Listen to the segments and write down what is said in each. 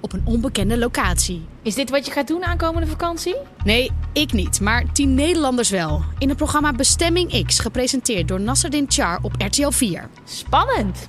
op een onbekende locatie. Is dit wat je gaat doen aankomende vakantie? Nee, ik niet, maar tien Nederlanders wel. In het programma Bestemming X, gepresenteerd door Nasserdin Char op RTL 4. Spannend!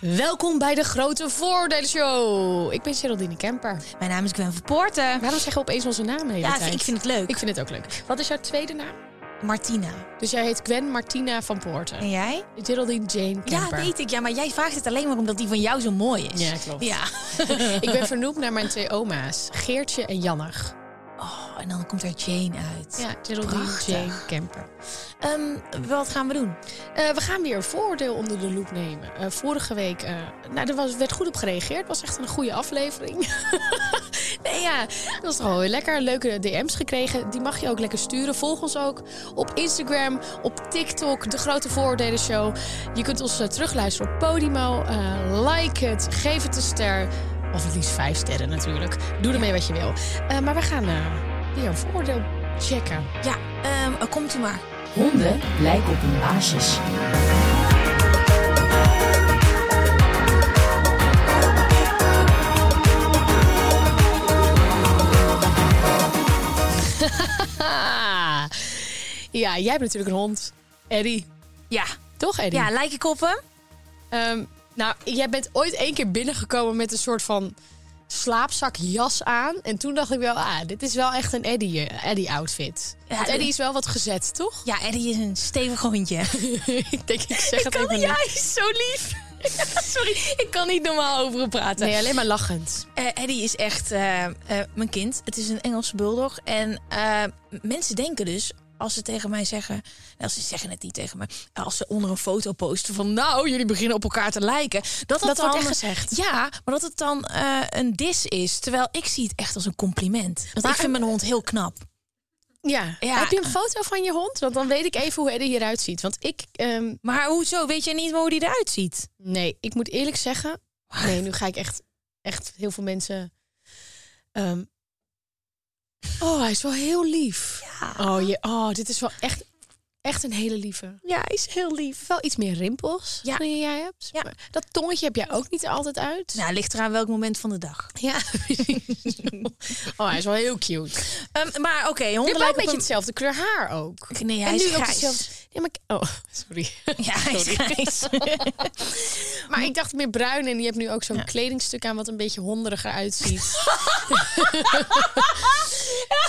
Welkom bij de Grote Voordelenshow. Ik ben Geraldine Kemper. Mijn naam is Gwen Verpoorten. Waarom zeggen we opeens onze naam de hele Ja, tijd? ik vind het leuk. Ik vind het ook leuk. Wat is jouw tweede naam? Martina. Dus jij heet Gwen Martina van Poorten. En jij? Geraldine Jane Ja, Kemper. weet ik. Ja, maar jij vraagt het alleen maar omdat die van jou zo mooi is. Ja, klopt. Ja. ik ben vernoemd naar mijn twee oma's, Geertje en Jannig. Oh, en dan komt er Jane uit. Ja, Geraldine Prachtig. Jane Kemper. Ehm, wat gaan we doen? Eh, we gaan weer een voordeel onder de loep nemen. Eh, vorige week, eh, nou, er was, werd goed op gereageerd. Het was echt een goede aflevering. nee, ja, dat was toch wel weer lekker. Leuke DM's gekregen. Die mag je ook lekker sturen. Volg ons ook op Instagram, op TikTok, De Grote Voordelen Show. Je kunt ons eh, terugluisteren op Podimo. Eh, like het, geef het een ster. Of het liefst vijf sterren natuurlijk. Doe ermee wat je wil. Eh, maar we gaan eh, weer een voordeel checken. Ja, ehm, eh, komt u maar. Honden lijken op hun baasjes. Ah. Ja, jij hebt natuurlijk een hond. Eddie. Ja. Toch, Eddie? Ja, lijken koppen. Ehm, nou, jij bent ooit één keer binnengekomen met een soort van slaapzakjas aan. En toen dacht ik wel, ah, dit is wel echt een Eddie, eh, Eddie-outfit. Ja, Want dit- Eddie is wel wat gezet, toch? Ja, Eddie is een stevig hondje. ik denk, ik zeg het kan even niet. niet. hij is zo lief. Sorry, ik kan niet normaal over hem praten. Nee, alleen maar lachend. Eh, Eddie is echt eh, eh, mijn kind. Het is een Engelse bulldog. En eh, m- mensen denken dus, als ze tegen mij zeggen... Nou, ze zeggen het niet tegen me. eh, Als ze onder een foto posten van... Nou, jullie beginnen op elkaar te lijken. Dat, Dat wordt dan- echt gezegd. Ja, maar dat het dan eh, een dis is. Terwijl ik zie het echt als een compliment. Want Maar- ik vind mijn hond heel knap. Ja. Ja. Heb je een foto van je hond? Want dan weet ik even hoe Eddie hieruit ziet. Want ik, ehm, Maar hoezo? Weet jij niet hoe die eruit ziet? Nee, ik moet eerlijk zeggen. Nee, nu ga ik echt, echt heel veel mensen. ehm, Oh, hij is wel heel lief. Oh, je, oh, dit is wel echt, echt een hele lieve. Ja, hij is heel lief. Wel iets meer rimpels Ja. dan jij hebt. Ja. Maar Dat tongetje heb jij ook niet altijd uit. Nou, ligt eraan welk moment van de dag. Ja, precies. Oh, hij is wel heel cute. Ehm, maar oké, Je honden hebt wel een lijken beetje op hetzelfde kleur haar ook. een... Nee, hij en is nu ook grijs. hetzelfde. Ja, maar... ik- Oh, sorry. Ja, hij is Sorry. grijs. Maar ik dacht meer bruin en je hebt nu ook zo'n kledingstuk aan wat een beetje honderiger uitziet.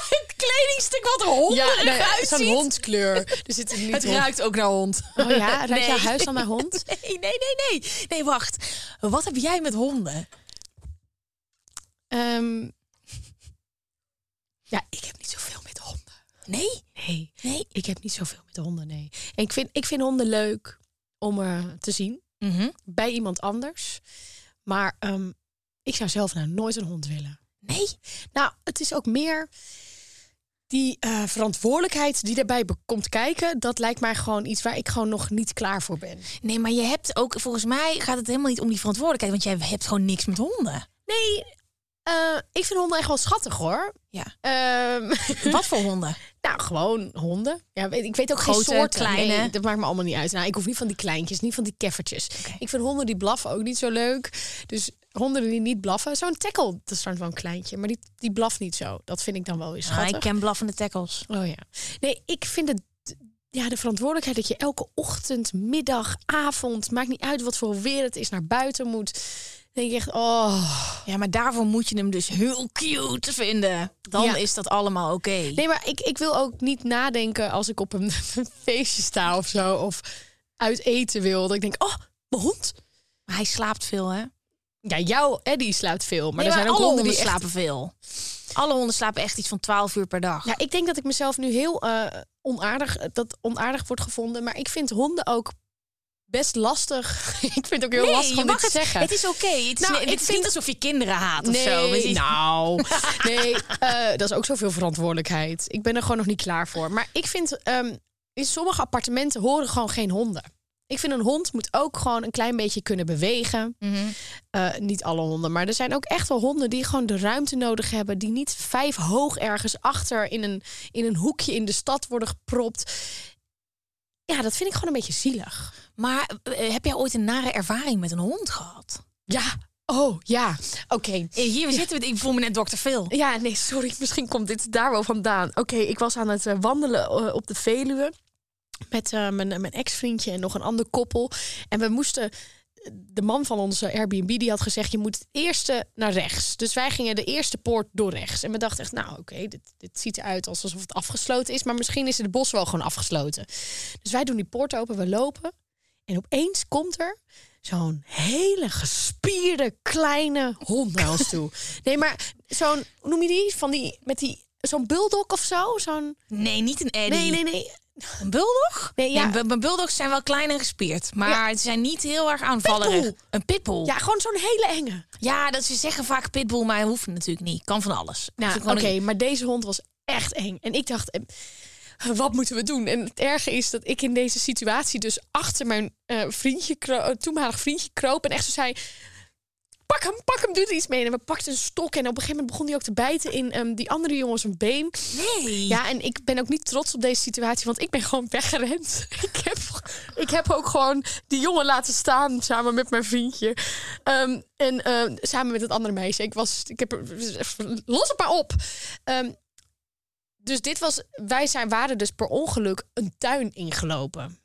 het kledingstuk wat er honderig nee, uitziet. Zo'n hondkleur. Er zit er niet Het hond- ruikt ook naar hond. Oh ja, ruikt jouw Nee. huis dan naar hond? Nee, nee, nee, nee. Nee, wacht. Wat heb jij met honden? Ehm, ja, ik heb niet zoveel met honden. Nee? Nee, Nee. ik heb niet zoveel met honden, nee. En ik vind, ik vind honden leuk om eh, te zien bij iemand anders. Maar ehm, ik zou zelf nou nooit een hond willen. Nee? Nou, het is ook meer die eh, verantwoordelijkheid die daarbij be- komt kijken. Dat lijkt mij gewoon iets waar ik gewoon nog niet klaar voor ben. Nee, maar je hebt ook... Volgens mij gaat het helemaal niet om die verantwoordelijkheid. Want jij hebt gewoon niks met honden. Nee, eh, ik vind honden echt wel schattig hoor. Ja. Ehm, Wat voor honden? nou, gewoon honden. Ja, weet, ik weet ook Grote, geen soorten. kleine. Nee, dat maakt me allemaal niet uit. Nou, ik hoef niet van die kleintjes, niet van die keffertjes. Ik vind honden die blaffen ook niet zo leuk. Dus honden die niet blaffen. Zo'n tackle, dat is dan wel een kleintje. Maar die, die blaft niet zo. Dat vind ik dan wel weer Ah, schattig. ik ken blaffende tackles. Oh ja. Nee, ik vind het. Ja, de verantwoordelijkheid dat je elke ochtend, middag, avond, maakt niet uit wat voor weer het is, naar buiten moet. Dan denk je echt, oh. Ja, maar daarvoor moet je hem dus heel cute vinden. Dan Ja. is dat allemaal oké. Nee, maar ik, ik wil ook niet nadenken als ik op een feestje sta of zo. Of uit eten wil. Dat ik denk, oh, mijn hond. Maar Hij slaapt veel, hè? Ja, jouw Eddie slaapt veel. Maar Nee, er zijn ook alle honden die honden echt- slapen veel. Alle honden slapen echt iets van 12 uur per dag. Ja, ik denk dat ik mezelf nu heel eh, onaardig, dat onaardig wordt gevonden. Maar ik vind honden ook best lastig. ik vind het ook heel lastig om je dit mag te het zeggen. Het is oké. Het is, Nou, nee, ik het is vind- niet alsof je kinderen haat of Nee, zo. Het is- nou. Nee, eh, dat is ook zoveel verantwoordelijkheid. Ik ben er gewoon nog niet klaar voor. Maar ik vind, ehm, in sommige appartementen horen gewoon geen honden. Ik vind een hond moet ook gewoon een klein beetje kunnen bewegen. Eh, niet alle honden, maar er zijn ook echt wel honden die gewoon de ruimte nodig hebben. Die niet vijf hoog ergens achter in een, in een hoekje in de stad worden gepropt. Ja, dat vind ik gewoon een beetje zielig. Maar eh, heb jij ooit een nare ervaring met een hond gehad? Ja, oh ja, oké. Eh, Hier zitten we. Ik voel me net dokter Phil. Ja, nee, sorry. Misschien komt dit daar wel vandaan. Oké, ik was aan het eh, wandelen eh, op de Veluwe. Met eh, mijn, mijn ex-vriendje en nog een ander koppel. En we moesten... eh, De man van onze Airbnb die had gezegd... je moet het eerste naar rechts. Dus wij gingen de eerste poort door rechts. En we dachten echt, nou oké, dit, dit ziet eruit alsof het afgesloten is. Maar misschien is het bos wel gewoon afgesloten. Dus wij doen die poort open, we lopen. En opeens komt er zo'n hele gespierde kleine hond naar ons toe. Nee, maar zo'n, hoe noem je die? Van die, met die, zo'n bulldog of zo? Zo'n, Nee, niet een Eddie. nee, nee, nee. Een bulldog? Nee, ja. bu- bu- bulldogs zijn wel klein en gespierd. Maar ze zijn niet heel erg aanvallerig. Pitbull. Een pitbull. Ja, gewoon zo'n hele enge. Ja, dat ze zeggen vaak pitbull, maar hoeft natuurlijk niet. Kan van alles. Nou, Ze oké, gewoon een- maar deze hond was echt eng. En ik dacht, eh, wat moeten we doen? En het erge is dat ik in deze situatie dus achter mijn eh, vriendje, kro- eh, toenmalig vriendje kroop. En echt zo zei, pak hem, pak hem, doe er iets mee. En we pakten een stok en op een gegeven moment begon hij ook te bijten in ehm, die andere jongens een been. Nee. Ja, en ik ben ook niet trots op deze situatie, want ik ben gewoon weggerend. ik, heb, ik heb ook gewoon die jongen laten staan samen met mijn vriendje. Ehm, en ehm, samen met het andere meisje. Ik was, ik heb, er- los het maar op. Ehm, dus dit was, wij zijn, waren dus per ongeluk een tuin ingelopen.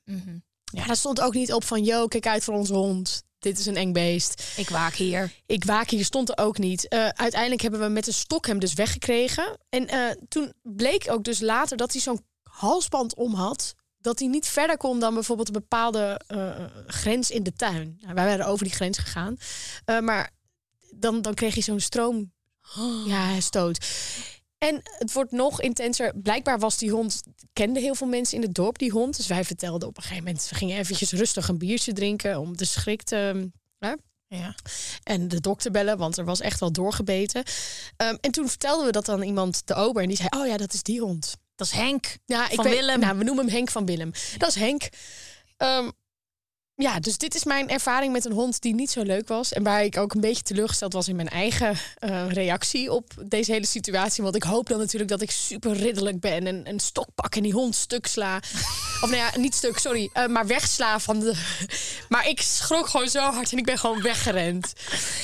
Ja, daar stond ook niet op van, yo, kijk uit voor onze hond. Dit is een eng beest. Ik waak hier. Ik waak hier stond er ook niet. Eh, uiteindelijk hebben we met een stok hem dus weggekregen. En eh, toen bleek ook dus later dat hij zo'n halsband om had. Dat hij niet verder kon dan bijvoorbeeld een bepaalde eh, grens in de tuin. Nou, wij waren over die grens gegaan. Eh, maar dan, dan kreeg hij zo'n stroom. Ja, stoot. En het wordt nog intenser. Blijkbaar was die hond, kende heel veel mensen in het dorp die hond. Dus wij vertelden op een gegeven moment, we gingen eventjes rustig een biertje drinken om de schrik te, hè, Ja. en de dokter bellen, want er was echt wel doorgebeten. Ehm, en toen vertelden we dat aan iemand, de ober, en die zei: Oh ja, dat is die hond. Dat is Henk. Ja, ik Van weet- Willem. Nou, we noemen hem Henk van Willem. Dat is Henk. Ehm, ja, dus dit is mijn ervaring met een hond die niet zo leuk was. En waar ik ook een beetje teleurgesteld was in mijn eigen eh, reactie op deze hele situatie. Want ik hoop dan natuurlijk dat ik super ridderlijk ben en een stok pak en die hond stuk sla. of nou ja, niet stuk, sorry, eh, maar wegsla van de. maar ik schrok gewoon zo hard en ik ben gewoon weggerend.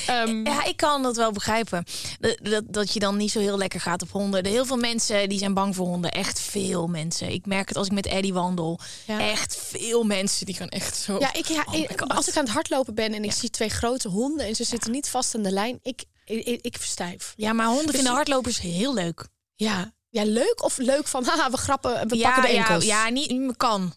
Ehm, Ja, ik kan dat wel begrijpen. Dat, dat, dat je dan niet zo heel lekker gaat op honden. Er- Heel veel mensen die zijn bang voor honden. Echt veel mensen. Ik merk het als ik met Eddie wandel. Echt veel mensen die gaan echt zo. Ja, ik, ja, Oh, ik- als ik aan het hardlopen ben en ik zie twee grote honden en ze zitten niet vast aan de lijn, ik, ik, ik verstijf. Ja, maar honden vinden hardlopers heel leuk. Ja. ja, leuk of leuk van, haha, we grappen, we pakken de enkels. Ja, ja niet mm, kan.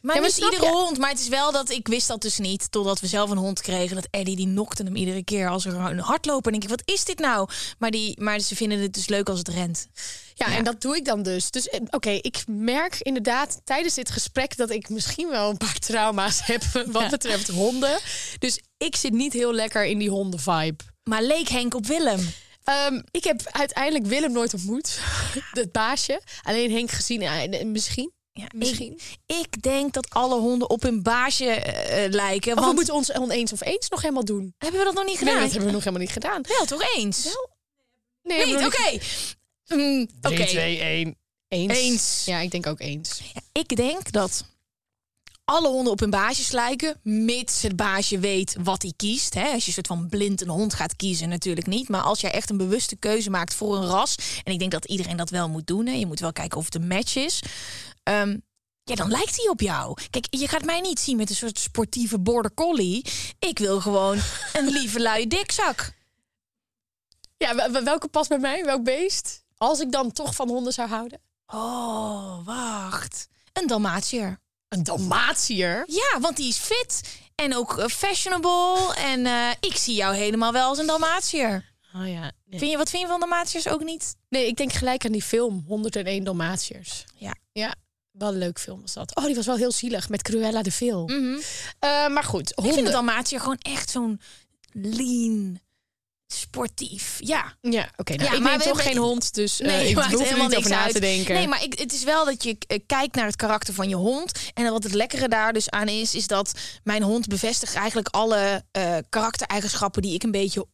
Maar Ja, maar niet snap iedere je? hond. Maar het is wel dat ik wist dat dus niet. Totdat we zelf een hond kregen. Dat Eddie die nokte hem iedere keer als er een hardloper. En denk ik, wat is dit nou? Maar, die, maar ze vinden het dus leuk als het rent. Ja, en dat doe ik dan dus. Dus eh, oké, ik merk inderdaad tijdens dit gesprek dat ik misschien wel een paar trauma's heb wat betreft honden. Dus ik zit niet heel lekker in die hondenvibe. Maar leek Henk op Willem. Ehm, ik heb uiteindelijk Willem nooit ontmoet, het baasje. Alleen Henk gezien, eh, misschien. misschien. Ik, ik denk dat alle honden op hun baasje eh, eh, lijken. Of Want Oh, we moeten ons oneens of eens nog helemaal doen. hebben we dat nog niet Nee, gedaan? dat hebben we nog helemaal niet gedaan. Wel, toch eens? Nee, niet? Oké. Mm, Oké. 1. Eens. Eens. Ja, ik denk ook eens. Ik denk dat alle honden op hun baasjes lijken, mits het baasje weet wat hij kiest. Hè? Als je soort van blind een hond gaat kiezen, natuurlijk niet. Maar als jij echt een bewuste keuze maakt voor een ras, en ik denk dat iedereen dat wel moet doen, hè? je moet wel kijken of het een match is. Ehm, ja, dan lijkt hij op jou. Kijk, je gaat mij niet zien met een soort sportieve border collie. Ik wil gewoon een lieve luie dikzak. Ja, wel- wel- welke past bij mij? Welk beest? Als ik dan toch van honden zou houden? Oh, wacht. Een Dalmatier. Een Dalmatier. Ja, want die is fit. En ook eh, fashionable. En eh, ik zie jou helemaal wel als een Dalmatier. Oh ja. Nee. Vind je, wat vind je van Dalmatiërs ook niet? Nee, ik denk gelijk aan die film 101 Dalmatiërs. Ja. Ja. Wel een leuk film was dat. Oh, die was wel heel zielig met Cruella de Vil. Eh, maar goed, Mhm. Ik vind honden. een Dalmatier gewoon echt zo'n lean, sportief. Ja. Ja, oké. nou, Ja, ik maar neem we- toch we- geen hond, dus eh, Nee, ik maakt hoef er helemaal niet niks over na uit. te denken. Nee, maar ik, het is wel dat je eh, kijkt naar het karakter van je hond. En wat het lekkere daar dus aan is, is dat mijn hond bevestigt eigenlijk alle eh karaktereigenschappen die ik een beetje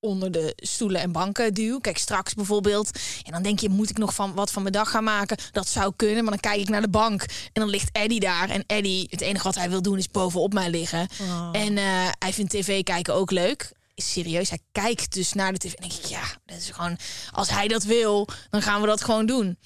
onder de stoelen en banken duw. Kijk, straks bijvoorbeeld. En dan denk je, moet ik nog van, wat van mijn dag gaan maken? Dat zou kunnen, maar dan kijk ik naar de bank. En dan ligt Eddie daar. En Eddie, het enige wat hij wil doen, is bovenop mij liggen. En eh, hij vindt tv kijken ook leuk. Serieus, hij kijkt dus naar de tv. En dan denk ik, ja, dat is gewoon... Als hij dat wil, dan gaan we dat gewoon doen.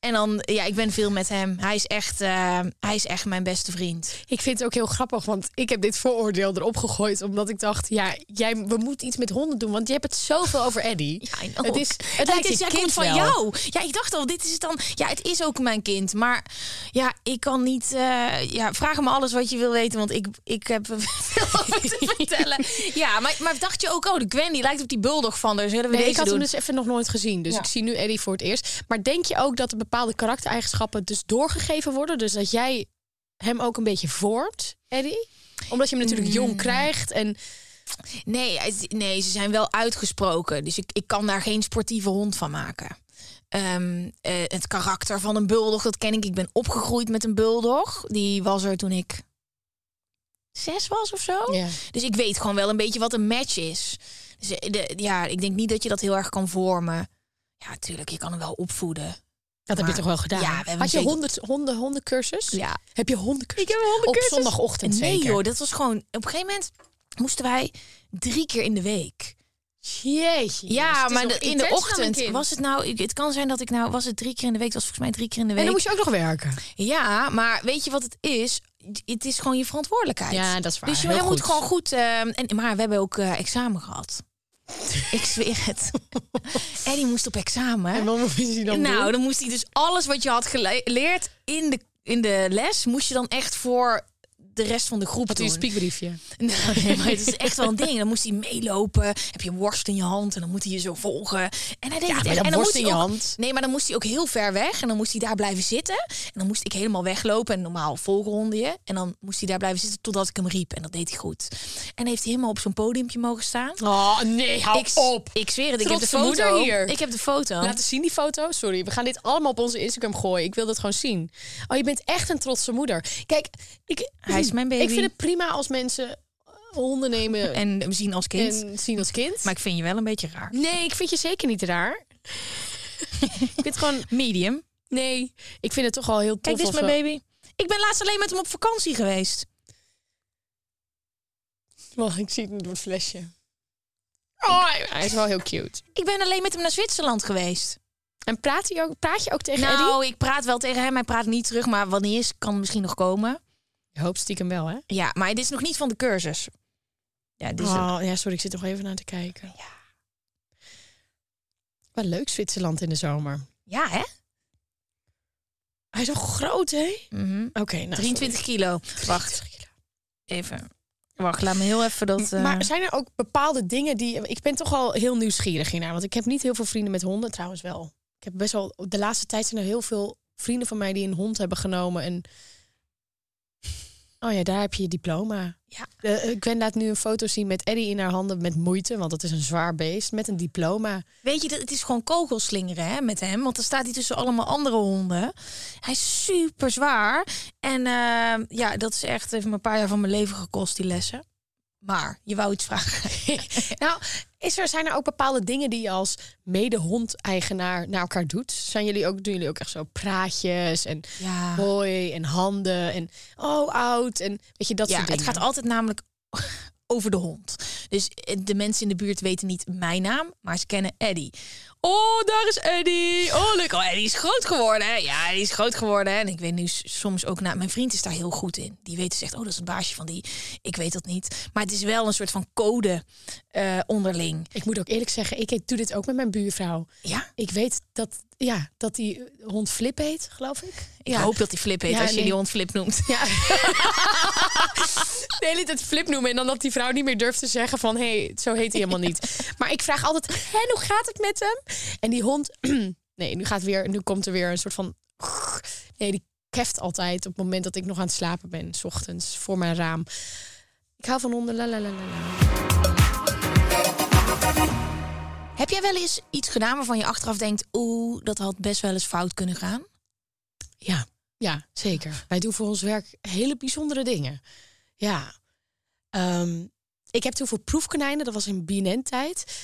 En dan, ja, ik ben veel met hem. Hij is echt, eh, hij is echt mijn beste vriend. Ik vind het ook heel grappig, want ik heb dit vooroordeel erop gegooid. Omdat ik dacht, ja, jij, we moeten iets met honden doen. Want je hebt het zoveel over Eddie. Ja, en ook- het is, het het lijkt is, je hij kind komt van wel. jou. Ja, ik dacht al, dit is het dan. Ja, het is ook mijn kind. Maar ja, ik kan niet. eh, ja, vraag me alles wat je wil weten, want ik, ik heb er veel over te vertellen. Ja, maar, maar dacht je ook, oh, de Gwen die lijkt op die bulldog van haar. Zullen we Nee, deze ik had doen? hem dus even nog nooit gezien. Dus Ja. ik zie nu Eddie voor het eerst. Maar denk je ook dat de bepaalde karaktereigenschappen dus doorgegeven worden? Dus dat jij hem ook een beetje vormt, Eddie? Omdat je hem natuurlijk jong krijgt. En Nee, het- nee, ze zijn wel uitgesproken. Dus ik, ik kan daar geen sportieve hond van maken. Ehm, eh, het karakter van een bulldog, dat ken ik. Ik ben opgegroeid met een bulldog. Die was er toen ik zes was of zo. Ja. Dus ik weet gewoon wel een beetje wat een match is. Dus eh, de, ja, ik denk niet dat je dat heel erg kan vormen. Ja, tuurlijk, je kan hem wel opvoeden. dat heb Maar- je toch wel gedaan? Ja, we hebben Had je zeker- honderd, honden, hondencursus? Ja. Heb je hondencursus? Ik heb een hondencursus. Op zondagochtend Nee zeker? joh, dat was gewoon... Op een gegeven moment moesten wij drie keer in de week. Jeetje. Ja, Dus het is maar nog de- in intens de dan een ochtend kind. was het nou... ik- Het kan zijn dat ik nou... Was het drie keer in de week? Het was volgens mij drie keer in de En week. dan moest je ook nog werken. Ja, maar weet je wat het is? Het is gewoon je verantwoordelijkheid. Ja, dat is waar. Dus je Heel jij moet goed. gewoon goed... ehm, en, maar we hebben ook eh, examen gehad. ik zweer het. Eddie moest op examen. En wat moest hij dan nou, doen? dan moest hij dus alles wat je had gele- geleerd in de, in de les... moest je dan echt voor de rest van de groep Had hij doen. een spiekbriefje? Nee, maar het is echt wel een ding. Dan moest hij meelopen. Heb je een worst in je hand en dan moet hij je zo volgen. En hij deed het maar echt. dat en dan worst moest in hij je ook- hand. Nee, maar dan moest hij ook heel ver weg en dan moest hij daar blijven zitten. En dan moest ik helemaal weglopen en normaal volgen honden je. En dan moest hij daar blijven zitten totdat ik hem riep. En dat deed hij goed. En heeft hij helemaal op zo'n podiumpje mogen staan. Oh, nee, hou ik, Ik zweer het, ik heb de Trotse moeder foto. hier. Ik heb de foto. Laten zien die foto. Sorry, we gaan dit allemaal op onze Instagram gooien. Ik wil dat gewoon zien. Oh, je bent echt een trotse moeder. Kijk, ik, Hij is mijn baby. ik vind het prima als mensen eh, honden nemen en, En hem zien als kind. zien als kind. Maar ik vind je wel een beetje raar. nee, ik vind je zeker niet raar. ik vind gewoon... Medium. Nee, ik vind het toch al heel tof. Kijk, dit is als mijn we- baby. Ik ben laatst alleen met hem op vakantie geweest. Wacht, ik zie het nu door het flesje. Oh, hij, hij is wel heel cute. Ik ben alleen met hem naar Zwitserland geweest. En praat, hij ook, praat je ook tegen Eddie? Nou, ik praat wel tegen hem. Hij praat niet terug, maar wanneer is, kan misschien nog komen. Je hoopt stiekem wel, hè? Ja, maar dit is nog niet van de cursus. Ja, dit is Oh, ja, sorry, ik zit nog even naar te kijken. Ja. Wat leuk Zwitserland in de zomer. ja hè? Hij is al groot, hè? Oké, nou. 23 kilo. Wacht, 23 kilo. even. Wacht, laat me heel even dat... eh, Maar zijn er ook bepaalde dingen die... Ik ben toch al heel nieuwsgierig hiernaar. Want ik heb niet heel veel vrienden met honden, trouwens wel. Ik heb best wel... De laatste tijd zijn er heel veel vrienden van mij die een hond hebben genomen. En... Oh ja, daar heb je je diploma. Ja. Eh, eh, Gwen laat nu een foto zien met Eddie in haar handen met moeite. Want dat is een zwaar beest. Met een diploma. Weet je, dat- het is gewoon kogelslingeren hè, met hem. Want dan staat hij tussen allemaal andere honden. Hij is super zwaar. En eh, ja, dat is echt even een paar jaar van mijn leven gekost, die lessen. Maar, je wou iets vragen. Nou, is er, zijn er ook bepaalde dingen die je als mede-hond-eigenaar naar elkaar doet? Zijn jullie ook, doen jullie ook echt zo praatjes en ja. hoi en handen en oh, oud en weet je, dat ja, soort het dingen? gaat altijd namelijk over de hond. Dus eh, de mensen in de buurt weten niet mijn naam, maar ze kennen Eddie. Oh, daar is Eddie. Oh, leuk. Oh, Eddie is groot geworden. hè? Ja, Eddie is groot geworden. hè? En ik weet nu s- soms ook na. Mijn vriend is daar heel goed in. Die weet zegt, oh, dat is het baasje van die. Ik weet dat niet. Maar het is wel een soort van code eh, onderling. Ik moet ook eerlijk zeggen, ik doe dit ook met mijn buurvrouw. Ja. Ik weet dat ja, dat die eh, hond Flip heet, geloof ik. Ik hoop dat hij Flip heet Ja, als je nee. die hond Flip noemt. Ja. De hele tijd flip noemen en dan dat die vrouw niet meer durft te zeggen van... hé, hey, zo heet hij helemaal niet. Maar ik vraag altijd, en hoe gaat het met hem? En die hond... nee, nu, gaat weer, nu komt er weer een soort van... Nee, die keft altijd op het moment dat ik nog aan het slapen ben. 's ochtends, voor mijn raam. Ik hou van honden, la la la la. la. Heb jij wel eens iets gedaan waarvan je achteraf denkt... oeh, dat had best wel eens fout kunnen gaan? Ja, ja, zeker. Wij doen voor ons werk hele bijzondere dingen. Ja. Ehm, ik heb toen voor proefkonijnen, dat was in BNN-tijd...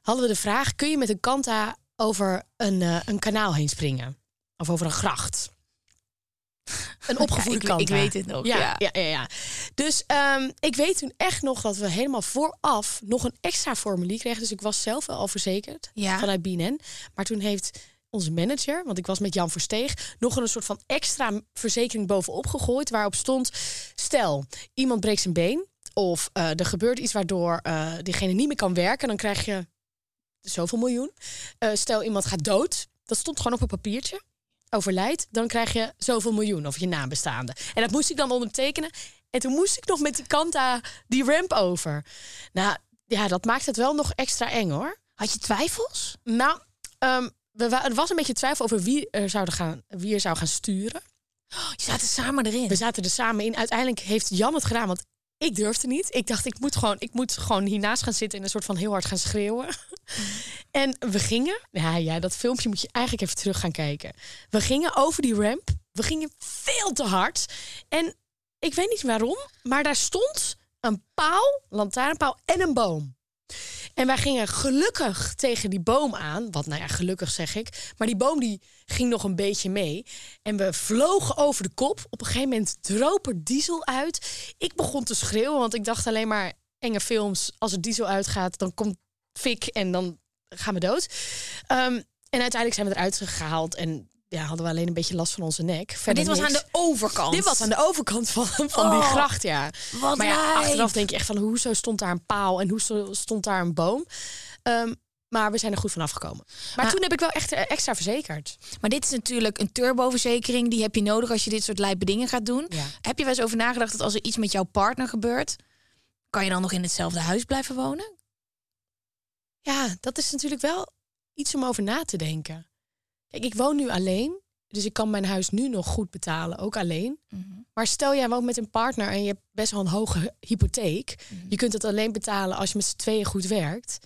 hadden we de vraag, kun je met een kanta over een, eh, een kanaal heen springen? Of over een gracht? Een Ja, opgevoerde ik- kanta. ik weet het nog, ja. Ja, ja, ja, ja. Dus ehm, ik weet toen echt nog dat we helemaal vooraf nog een extra formulier kregen. Dus ik was zelf wel al verzekerd Ja. vanuit BNN. Maar toen heeft onze manager, want ik was met Jan Versteeg, nog een soort van extra verzekering bovenop gegooid. Waarop stond: stel, iemand breekt zijn been. Of eh, er gebeurt iets waardoor eh, diegene niet meer kan werken. Dan krijg je zoveel miljoen. Eh, stel, iemand gaat dood. Dat stond gewoon op een papiertje overlijdt, dan krijg je zoveel miljoen of je nabestaande. En dat moest ik dan ondertekenen. En toen moest ik nog met die kanta die ramp over. Nou, ja, dat maakt het wel nog extra eng hoor. Had je twijfels? Nou, ehm, we, wa- er was een beetje twijfel over wie er, zouden gaan, wie er zou gaan sturen. Je zaten samen erin. We zaten er samen in. Uiteindelijk heeft Jan het gedaan, want ik durfde niet. Ik dacht, ik moet gewoon, ik moet gewoon hiernaast gaan zitten en een soort van heel hard gaan schreeuwen. En we gingen, ja, ja, dat filmpje moet je eigenlijk even terug gaan kijken. We gingen over die ramp. We gingen veel te hard. En ik weet niet waarom, maar daar stond een paal, lantaarnpaal en een boom. En wij gingen gelukkig tegen die boom aan. Wat nou ja, gelukkig zeg ik. Maar die boom die ging nog een beetje mee. En we vlogen over de kop. Op een gegeven moment droop er diesel uit. Ik begon te schreeuwen, want ik dacht alleen maar... enge films, als er diesel uitgaat, dan komt fik en dan gaan we dood. Ehm, en uiteindelijk zijn we eruit gehaald. En ja, hadden we alleen een beetje last van onze nek. Maar Verder dit was aan niks. de overkant. Dit was aan de overkant van, van die Oh, gracht, ja. wat maar ja, lijp. achteraf denk je echt van... hoezo stond daar een paal en hoezo stond daar een boom? Ehm, maar we zijn er goed van afgekomen. Maar, Maar- toen heb ik wel echt eh, extra verzekerd. Nou, Maar dit is natuurlijk een turboverzekering. Die heb je nodig als je dit soort lijpe dingen gaat doen. Ja. Heb je wel eens over nagedacht dat als er iets met jouw partner gebeurt... kan je dan nog in hetzelfde huis blijven wonen? Ja, dat is natuurlijk wel iets om over na te denken. Kijk, ik woon nu alleen. Dus ik kan mijn huis nu nog goed betalen, ook alleen. Maar stel jij woont met een partner en je hebt best wel een hoge hypotheek. Mhm. Je kunt het alleen betalen als je met z'n tweeën goed werkt.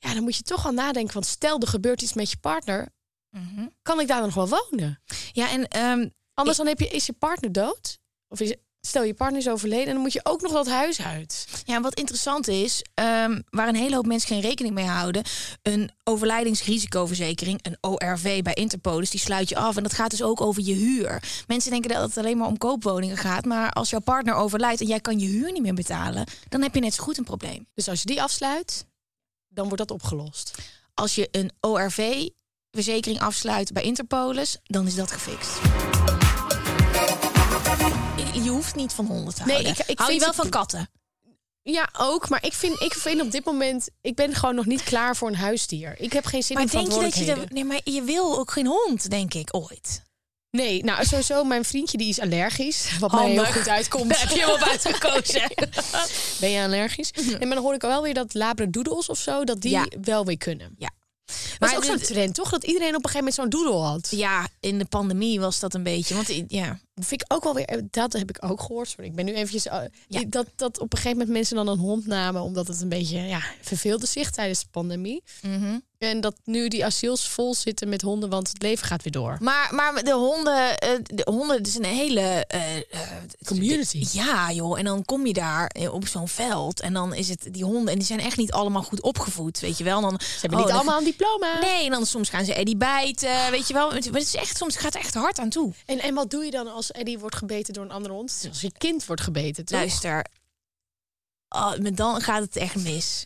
Ja. dan moet je toch al nadenken. Want stel er gebeurt iets met je partner. Mhm. Kan ik daar dan nog wel wonen? Ja, en ehm, Anders dan heb je, is je partner dood? Of is, stel je partner is overleden en dan moet je ook nog dat huis uit. Ja, en wat interessant is, ehm, waar een hele hoop mensen geen rekening mee houden, een overlijdingsrisicoverzekering, een ORV bij Interpolis, die sluit je af. En dat gaat dus ook over je huur. Mensen denken dat het alleen maar om koopwoningen gaat, maar als jouw partner overlijdt en jij kan je huur niet meer betalen, dan heb je net zo goed een probleem. Dus als je die afsluit, dan wordt dat opgelost. Als je een ORV-verzekering afsluit bij Interpolis, dan is dat gefixt. Je- Je hoeft niet van honden te Nee, houden. ik- ik Hou je vind wel het- van katten? Ja, ook. Maar ik vind, ik vind op dit moment... Ik ben gewoon nog niet klaar voor een huisdier. Ik heb geen zin Maar in denk je dat je... verantwoordelijkheden. de- Nee, maar je wil ook geen hond, denk ik, ooit. Nee, nou sowieso, mijn vriendje die is allergisch. Wat mij Handig. heel goed uitkomt. Oh, Daar heb je hem op uitgekozen. Mhm. ben je allergisch? En maar dan hoor ik wel weer dat labradoodles of zo... dat die Ja. wel weer kunnen. Ja. Maar Maar dat is ook dit- zo'n trend, toch? Dat iedereen op een gegeven moment zo'n doodle had. Ja, in de pandemie was dat een beetje. Want i- ja, Dat vind ik ook wel weer... eh, Dat heb ik ook gehoord. Sorry, ik ben nu eventjes... eh, Ja. dat, dat op een gegeven moment mensen dan een hond namen... omdat het een beetje ja, verveelde zich tijdens de pandemie. Mhm. En dat nu die asiels vol zitten met honden... want het leven gaat weer door. maar, maar de honden, eh, de honden, het is een hele eh, eh, Community. Ja, joh. En dan kom je daar eh, op zo'n veld en dan is het die honden en die zijn echt niet allemaal goed opgevoed, weet je wel? Dan ze hebben niet allemaal een diploma. Nee, en dan soms gaan ze Eddie bijten, weet je wel? Het het is echt soms gaat het echt hard aan toe. En, en wat doe je dan als Eddie wordt gebeten door een andere hond? Nou, Het is Als je kind wordt gebeten, toch? Luister. Oh, maar dan gaat het echt mis.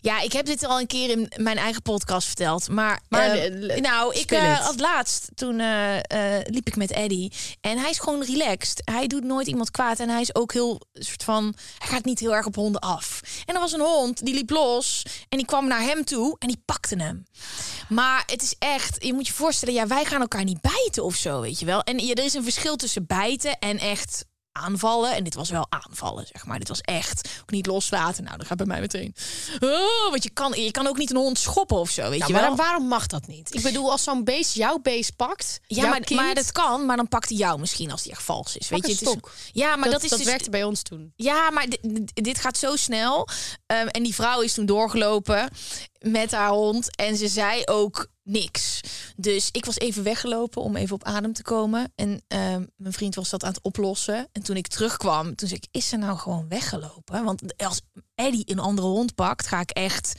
Ja, ik heb dit al een keer in mijn eigen podcast verteld. Maar, Maar, eh, eh, le- nou, ik speel eh, het. had laatst, toen eh, eh, liep ik met Eddie. En hij is gewoon relaxed. Hij doet nooit iemand kwaad. En hij is ook heel soort van. Hij gaat niet heel erg op honden af. En er was een hond die liep los. En die kwam naar hem toe en die pakte hem. Maar het is echt, je moet je voorstellen, ja, wij gaan elkaar niet bijten of zo, weet je wel. En ja, er is een verschil tussen bijten en echt aanvallen. En dit was wel aanvallen, zeg maar. Dit was echt ook niet loslaten. Nou, dat gaat bij mij meteen. Oh, want je kan, je kan ook niet een hond schoppen of zo, weet Nou, je wel. waarom, waarom mag dat niet? Ik bedoel, als zo'n beest jouw beest pakt, Ja, jouw maar, kind, maar dat kan, maar dan pakt hij jou misschien als die echt vals is. Weet je, een het is- stok. ja, maar dat, dat, is dat dus, werkte bij ons toen. Ja, maar dit, dit gaat zo snel. Ehm, en die vrouw is toen doorgelopen met haar hond. En ze zei ook niks. Dus ik was even weggelopen om even op adem te komen. En ehm, mijn vriend was dat aan het oplossen. En toen ik terugkwam, toen zei ik... Is ze nou gewoon weggelopen? Want als Eddie een andere hond pakt, ga ik echt...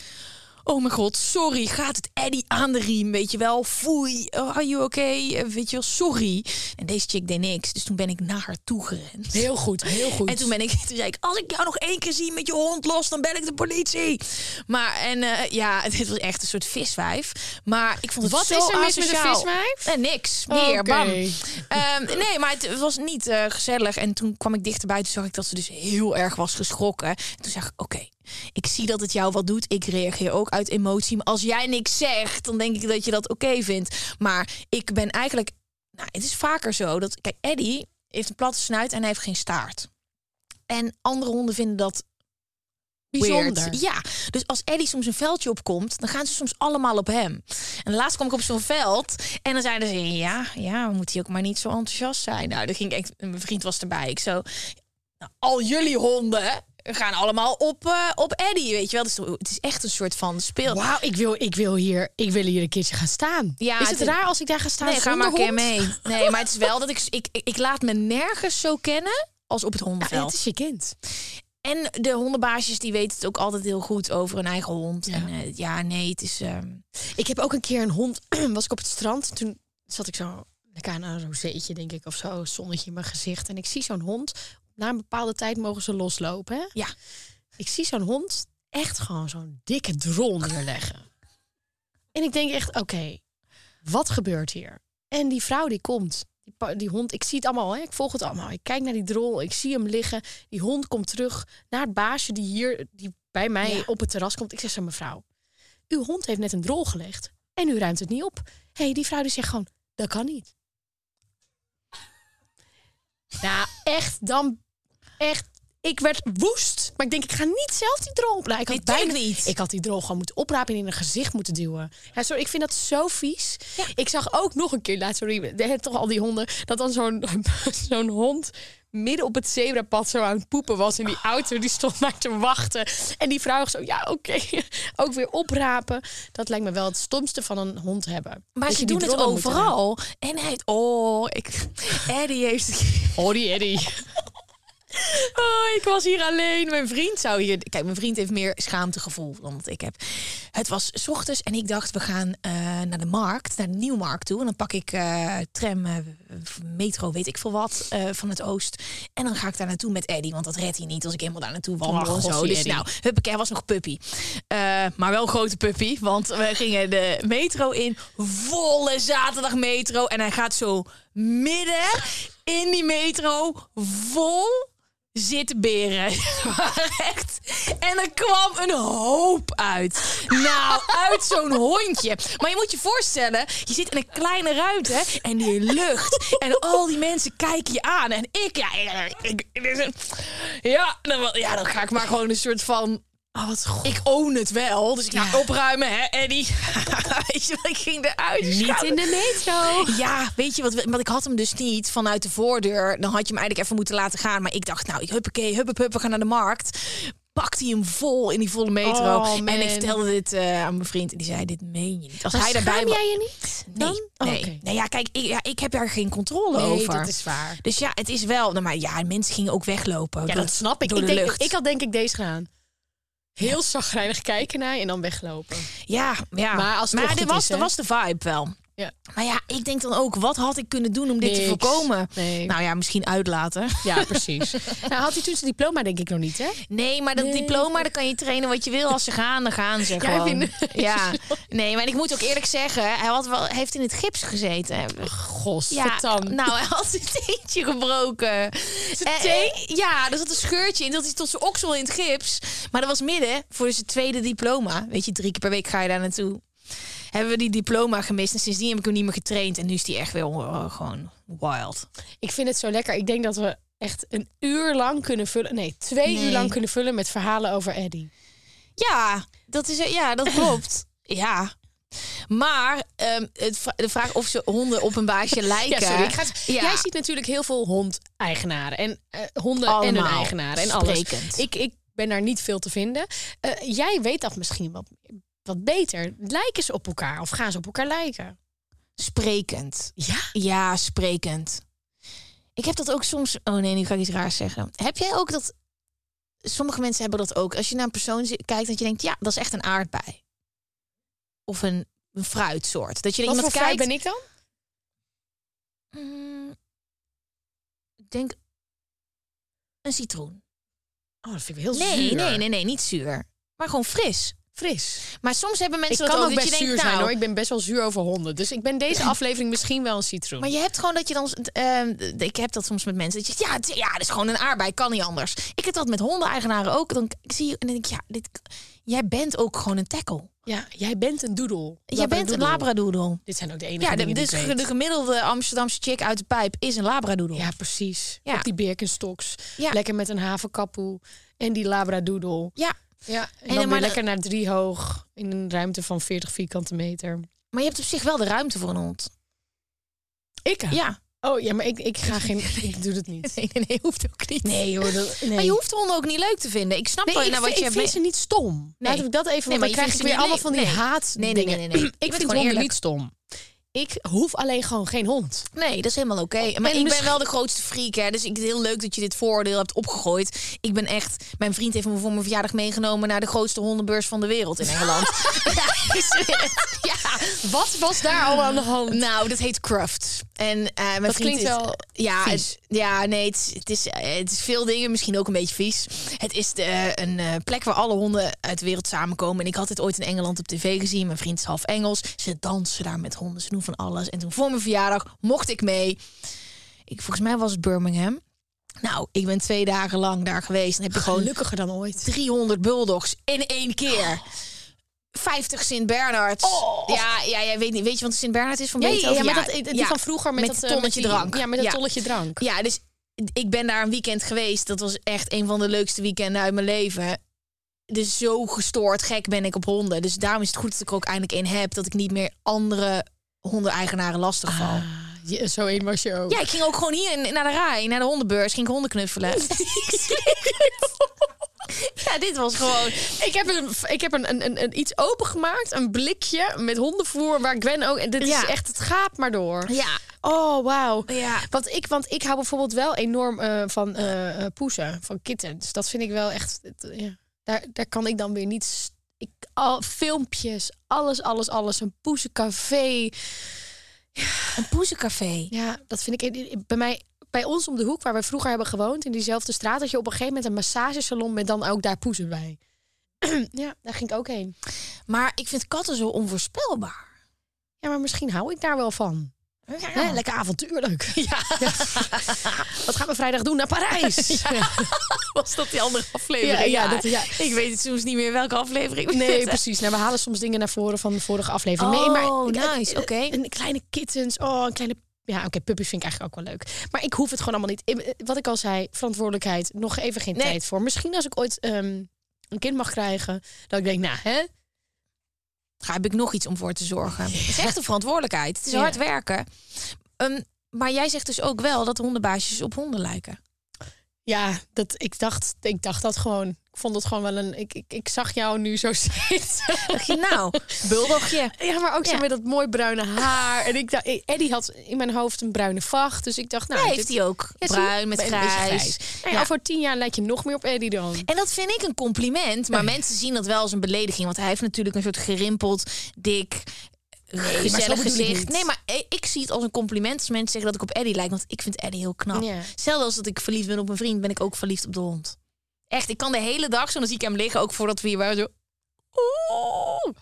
Oh mijn god, sorry, gaat het Eddie aan de riem, weet je wel? Foei, oh, are you okay? Eh, Weet je wel, sorry. En deze chick deed niks, dus toen ben ik naar haar toe gerend. Heel goed, heel goed. En toen ben ik, toen zei ik, als ik jou nog één keer zie met je hond los, dan bel ik de politie. Maar en eh, ja, dit was echt een soort viswijf. Maar ik vond het Wat zo is er mis met een asociaal. viswijf? Eh, niks. Meer, Oké. bam. Ehm, nee, maar het was niet eh, gezellig. En toen kwam ik dichterbij, toen zag ik dat ze dus heel erg was geschrokken. En toen zag ik, oké, ik zie dat het jou wat doet. Ik reageer ook uit emotie. Maar als jij niks zegt, dan denk ik dat je dat oké vindt. Maar ik ben eigenlijk... Nou, het is vaker zo dat... Kijk, Eddie heeft een platte snuit en hij heeft geen staart. En andere honden vinden dat Bijzonder. weird. Ja, dus als Eddie soms een veldje opkomt, dan gaan ze soms allemaal op hem. En laatst kwam ik op zo'n veld en dan zeiden ze: Ja, ja, moet hij ook maar niet zo enthousiast zijn. Nou, dan ging ik echt, mijn vriend was erbij. Ik zo: nou, Al jullie honden gaan allemaal op, eh, op Eddie, weet je wel. Dus het is echt een soort van speel. Wauw, ik wil, ik, wil hier, ik wil hier een keertje gaan staan. Ja, is het, het- raar als ik daar ga staan Nee, ga zonder maar een keer hond? mee. Nee, maar het is wel dat ik, ik, ik, ik laat me nergens zo kennen als op het hondenveld. Ja, het is je kind. En de hondenbaasjes die weten het ook altijd heel goed over hun eigen hond. En eh, ja, nee, het is. ehm, Ik heb ook een keer een hond. was ik op het strand. Toen zat ik zo lekker aan een rozeetje, denk ik, of zo. Zonnetje in mijn gezicht. En ik zie zo'n hond. Na een bepaalde tijd mogen ze loslopen. Hè? Ja. Ik zie zo'n hond echt gewoon zo'n dikke drol neerleggen. en ik denk echt, oké, wat gebeurt hier? En die vrouw die komt. Die, pa- die hond, ik zie het allemaal, hè? ik volg het allemaal. Ik kijk naar die drol, ik zie hem liggen. Die hond komt terug naar het baasje die hier die bij mij Ja. op het terras komt. Ik zeg zo, mevrouw, uw hond heeft net een drol gelegd en u ruimt het niet op. Hé, hey, die vrouw die zegt gewoon, dat kan niet. Nou, echt, dan... Echt, ik werd woest. Maar ik denk, ik ga niet zelf die drol oprapen. Ik had Nee, tuurlijk bijna- niet. Ik had die drol gewoon moeten oprapen en in een gezicht moeten duwen. Ja, sorry, ik vind dat zo vies. Ik zag ook nog een keer, laatst, sorry, er zijn toch al die honden... dat dan zo'n zo'n hond midden op het zebrapad zo aan het poepen was. En Ah. die auto die stond maar te wachten. En die vrouw zo, ja, oké. Ook weer oprapen. Dat lijkt me wel het stomste van een hond hebben. Maar Dat ze je die doen het drollen moet ruimen. overal. En hij heeft... Oh, ik, Eddie heeft... Oh, die Eddie. Oh, ik was hier alleen. Mijn vriend zou hier... Kijk, mijn vriend heeft meer schaamtegevoel dan wat ik heb. Het was 's ochtends en ik dacht, we gaan eh, naar de markt. Naar de Nieuwmarkt toe. En dan pak ik eh, tram, eh, of metro, weet ik veel wat, eh, van het oost. En dan ga ik daar naartoe met Eddie. Want dat redt hij niet als ik helemaal daar naartoe wandel. Ach, en zo. goffie, Dus Eddie. nou, huppakee, hij was nog puppy. Eh, maar wel een grote puppy. Want we gingen de metro in. Volle zaterdag metro. En hij gaat zo midden in die metro. Vol zitberen. Echt. En er kwam een hoop uit. Nou, uit zo'n hondje. Maar je moet je voorstellen, je zit in een kleine ruimte en die lucht en al die mensen kijken je aan. En ik, ja, ik- ik, dit is een- ja, dan, wel- ja, dan ga ik maar gewoon een soort van... Oh, wat goed. Ik own het wel, dus ik ga opruimen, hè, Eddie. Weet je wel, ik ging eruit. Niet in de metro. Ja, weet je wat? Want ik had hem dus niet vanuit de voordeur. Dan had je hem eigenlijk even moeten laten gaan. Maar ik dacht, nou, ik huppakee, hup, hup, we gaan naar de markt. Pakte hij hem vol in die volle metro. Oh, en man. ik vertelde dit eh, aan mijn vriend. En die zei, dit meen je niet. Als hij daarbij Schaam wa- jij je niet? Nee, dan? Oh, nee. oké. nee ja, kijk, ik, ja, ik heb daar geen controle Nee, over. dat is waar. Dus ja, het is wel. Nou, maar ja, mensen gingen ook weglopen. Ja, door- dat snap ik. Door Ik, de denk, lucht. ik had denk ik deze gedaan. Heel zagrijnig kijken naar je en dan weglopen. Ja, ja. Maar als het toch dit goed was, is, dat hè? was de vibe wel. Ja. Maar ja, ik denk dan ook, wat had ik kunnen doen om dit te Niks. voorkomen? Nee. Nou ja, misschien uitlaten. Ja, precies. nou, had hij toen zijn diploma denk ik nog niet, hè? Nee, maar dat diploma, dan kan je trainen wat je wil. Als ze gaan, dan gaan ze Jij gewoon. vindt- Ja, nee, maar ik moet ook eerlijk zeggen, hij had wel, hij heeft in het gips gezeten. Gos, Ja, vertam. nou, hij had zijn teentje gebroken. Zijn teen? Ja, er zat een scheurtje in. Dat is tot zijn oksel in het gips. Maar dat was midden voor zijn tweede diploma. Weet je, drie keer per week ga je daar naartoe. hebben we die diploma gemist. En sindsdien heb ik hem niet meer getraind. En nu is die echt weer eh, gewoon wild. Ik vind het zo lekker. Ik denk dat we echt een uur lang kunnen vullen. Nee, twee Nee. uur lang kunnen vullen met verhalen over Eddie. Ja, dat, is, ja, dat klopt. ja. Maar ehm, het, vra- de vraag of ze honden op een baasje lijken. Ja, sorry. Ik ga het- Ja. Jij ziet natuurlijk heel veel hondeigenaren. En eh, honden en Allemaal hun eigenaren. En alles. sprekend. Ik, ik ben daar niet veel te vinden. Eh, jij weet dat misschien wat, wat beter. Lijken ze op elkaar of gaan ze op elkaar lijken? Sprekend. Ja. Ja, sprekend. Ik heb dat ook soms. Oh nee, nu ga ik iets raars zeggen. Heb jij ook dat. Sommige mensen hebben dat ook. Als je naar een persoon zi- kijkt, dat je denkt: ja, dat is echt een aardbei. Of een, een fruitsoort. Dat je naar Wat voor iemand kijkt. vrij ben ik dan? Mm, ik denk. Een citroen. Oh, dat vind ik heel Nee, zuur. nee, nee, nee, niet zuur. Maar gewoon fris. Fris. Maar soms hebben Ik mensen kan dat ook ook. best dat je zuur denkt, zijn nou, hoor. Ik ben best wel zuur over honden. Dus ik ben deze aflevering misschien wel een citroen. Maar je hebt gewoon dat je dan. ehm, ik heb dat soms met mensen. Dat je zegt, ja, het- ja, dat is gewoon een aardbei, kan niet anders. Ik heb dat met hondeneigenaren ook. Dan k- zie je en dan denk ik, ja, dit, jij bent ook gewoon een tackle. Ja, jij bent een doedel. Jij bent een labradoodle. Dit zijn ook de enige Ja, de, dingen die dus ik ge- weet. de gemiddelde Amsterdamse chick uit de pijp is een labradoodle. Ja, precies. Ja. Op die Birkenstocks. Ja. Lekker met een havenkapoe. En die labradoodle. Ja, Ja, en, dan dan weer maar de- lekker naar drie hoog. In een ruimte van 40 vierkante meter. maar je hebt op zich wel de ruimte voor een hond. Ik? Ja. Ja. Oh ja, maar ik, ik ga geen... Ik doe het niet. Nee, nee, nee, hoeft ook niet. Nee hoor. dat- nee. Maar je hoeft honden ook niet leuk te vinden. Ik snap Nee, wel ik, naar vind- wat je ik hebt vind mee- ze niet stom. Nee. Laat ik dat even, Nee, maar want dan je krijg vindt ik ze weer niet allemaal van die leuk. Nee. haat Nee, nee, nee, nee, nee. Je Ik bent vind gewoon honden eerlijk. niet stom. Ik hoef alleen gewoon geen hond. Nee, dat is helemaal oké. Maar ik ben wel de grootste freak, hè. Dus ik het heel leuk dat je dit voordeel hebt opgegooid. Ik ben echt... Mijn vriend heeft me voor mijn verjaardag meegenomen... naar de grootste hondenbeurs van de wereld in Engeland. ja, ik zweer het. ja. Wat was daar al aan de hand? Nou, dat heet Crufts. En eh, mijn Dat vriend klinkt is- wel ja, vies. het- ja, nee, het, is- het, is, eh, het is veel dingen, misschien ook een beetje vies. Het is de, eh, een eh, plek waar alle honden uit de wereld samenkomen. En ik had dit ooit in Engeland op tv gezien. Mijn vriend is half Engels. Ze dansen daar met honden, ze doen van alles. En toen voor mijn verjaardag mocht ik mee. Ik, volgens mij was het Birmingham. Nou, ik ben twee dagen lang daar geweest. En heb je gewoon Gelukkiger dan ooit. 300 bulldogs in één keer. Oh. 50 Sint-Bernards. Ja, ja, jij weet niet. Weet je wat een Sint-Bernard is van Ja, ja, Beethoven? ja, maar dat, die van vroeger met, met dat het eh, met tonnetje die- drank. Ja, met dat Ja. tolletje drank. Ja, dus ik ben daar een weekend geweest. Dat was echt een van de leukste weekenden uit mijn leven. Dus zo gestoord gek ben ik op honden. Dus daarom is het goed dat ik er ook eindelijk één heb. Dat ik niet meer andere hondeneigenaren lastig val. Je- zo één was je ook. Ja, ik ging ook gewoon hier in- naar de rij, naar de hondenbeurs. Ging ik honden knuffelen. ja, dit was gewoon... Ik heb, een, ik heb een, een, een, een iets opengemaakt, een blikje met hondenvoer waar Gwen ook. En dit Ja. is echt, het gaat maar door. Ja, Oh, wauw. ja. Want ik, want ik hou bijvoorbeeld wel enorm eh, van eh, eh, poezen, van kittens. Dat vind ik wel echt. het, eh, ja. daar, daar kan ik dan weer niet. s- Ik, al, filmpjes, alles, alles, alles. Een poezencafé. Een poezencafé. Ja, dat vind ik. eh, Bij mij, bij ons om de hoek, waar we vroeger hebben gewoond, in diezelfde straat, had je op een gegeven moment een massagesalon met dan ook daar poezen bij. ja, daar ging ik ook heen. Maar ik vind katten zo onvoorspelbaar. Ja, maar misschien hou ik daar wel van. Hè, lekker avontuurlijk. Ja. Wat gaan we vrijdag doen naar Parijs? Ja, Was dat die andere aflevering? ja, dat- ja. Ik weet het soms niet meer welke aflevering. Nee, precies. Nou, we halen soms dingen naar voren van de vorige aflevering. nee, Oh, maar nice. eh, Oké. eh, Een kleine kittens. Oh, een kleine. Ja, oké, puppies vind ik eigenlijk ook wel leuk. Maar ik hoef het gewoon allemaal niet. Ik- eh, Wat ik al zei, verantwoordelijkheid, nog even geen Nee. tijd voor. Misschien als ik ooit ehm, een kind mag krijgen, dat ik denk, nou, hè? Daar heb ik nog iets om voor te zorgen. Het is echt een verantwoordelijkheid. Het is Ja. hard werken. Ehm, maar jij zegt dus ook wel dat hondenbaasjes op honden lijken. Ja, dat, ik, dacht, ik dacht dat gewoon. Ik vond het gewoon wel een. Ik, ik, ik zag jou nu zo steeds. nou, buldogje. Ja, maar ook zo Oh, Ja. met dat mooi bruine haar. En ik dacht, Eddie had in mijn hoofd een bruine vacht. Dus ik dacht, nou, Nee, dit- heeft hij ook. Ja, zie je? Bruin met Een grijs. beetje Nou ja, Ja. Over tien jaar lijkt je nog meer op Eddie dan. En dat vind ik een compliment. Maar mensen zien dat wel als een belediging. Want hij heeft natuurlijk een soort gerimpeld, dik, gezellig bedoel ik gezicht. niet. Nee, maar i- ik zie het als een compliment als mensen zeggen dat ik op Eddie lijk. Want ik vind Eddie heel knap. Ja. Hetzelfde als dat ik verliefd ben op een vriend, ben ik ook verliefd op de hond. Echt, ik kan de hele dag zo, dan zie ik hem liggen. Ook voordat we hier waren, zo... oeh.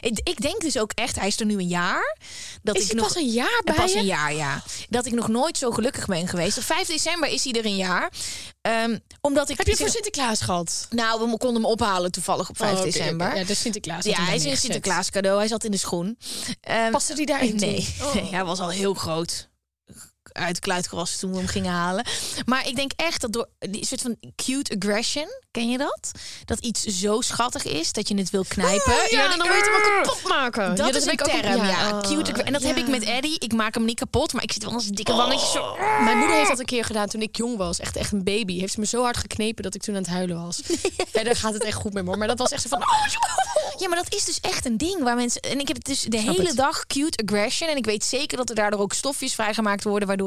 Ik, ik denk dus ook echt, hij is er nu een jaar. Dat Is ik hij nog, pas een jaar Eh, bij Pas je? een jaar, ja. Dat ik nog nooit zo gelukkig ben geweest. Op 5 december is hij er een jaar. Ehm, omdat ik. Heb je het voor Sinterklaas gehad? Nou, we konden hem ophalen toevallig op 5 Oh, oké, december. oké. Ja, de Sinterklaas. had Ja, hem hij daar is een neergezet. Sinterklaas cadeau. Hij zat in de schoen. Ehm, Paste die daarin? toen? Nee, Oh. nee, hij was al heel groot uit de kluit gewassen toen we hem gingen halen. Maar ik denk echt dat door die soort van cute aggression, ken je dat? Dat iets zo schattig is dat je het wil knijpen. Ah, Ja, Ja, dan wil je het hem ook kapot maken. dat, Ja, is een heb ik ook- term, ja. oh, cute aggra- en dat heb ja. Oh. ik met Eddie. Ik maak hem niet kapot, maar ik zit wel eens dikke wangetjes zo. Mijn moeder heeft dat een keer gedaan toen ik jong was. Echt, echt een baby. Heeft ze me zo hard geknepen dat ik toen aan het huilen was. Verder gaat het echt goed met me. hoor. Maar dat was echt zo van... Oh, Ja, maar dat is dus echt een ding waar mensen. En ik heb het dus de hele het. dag cute aggression. En ik weet zeker dat er daardoor ook stofjes vrijgemaakt worden, waardoor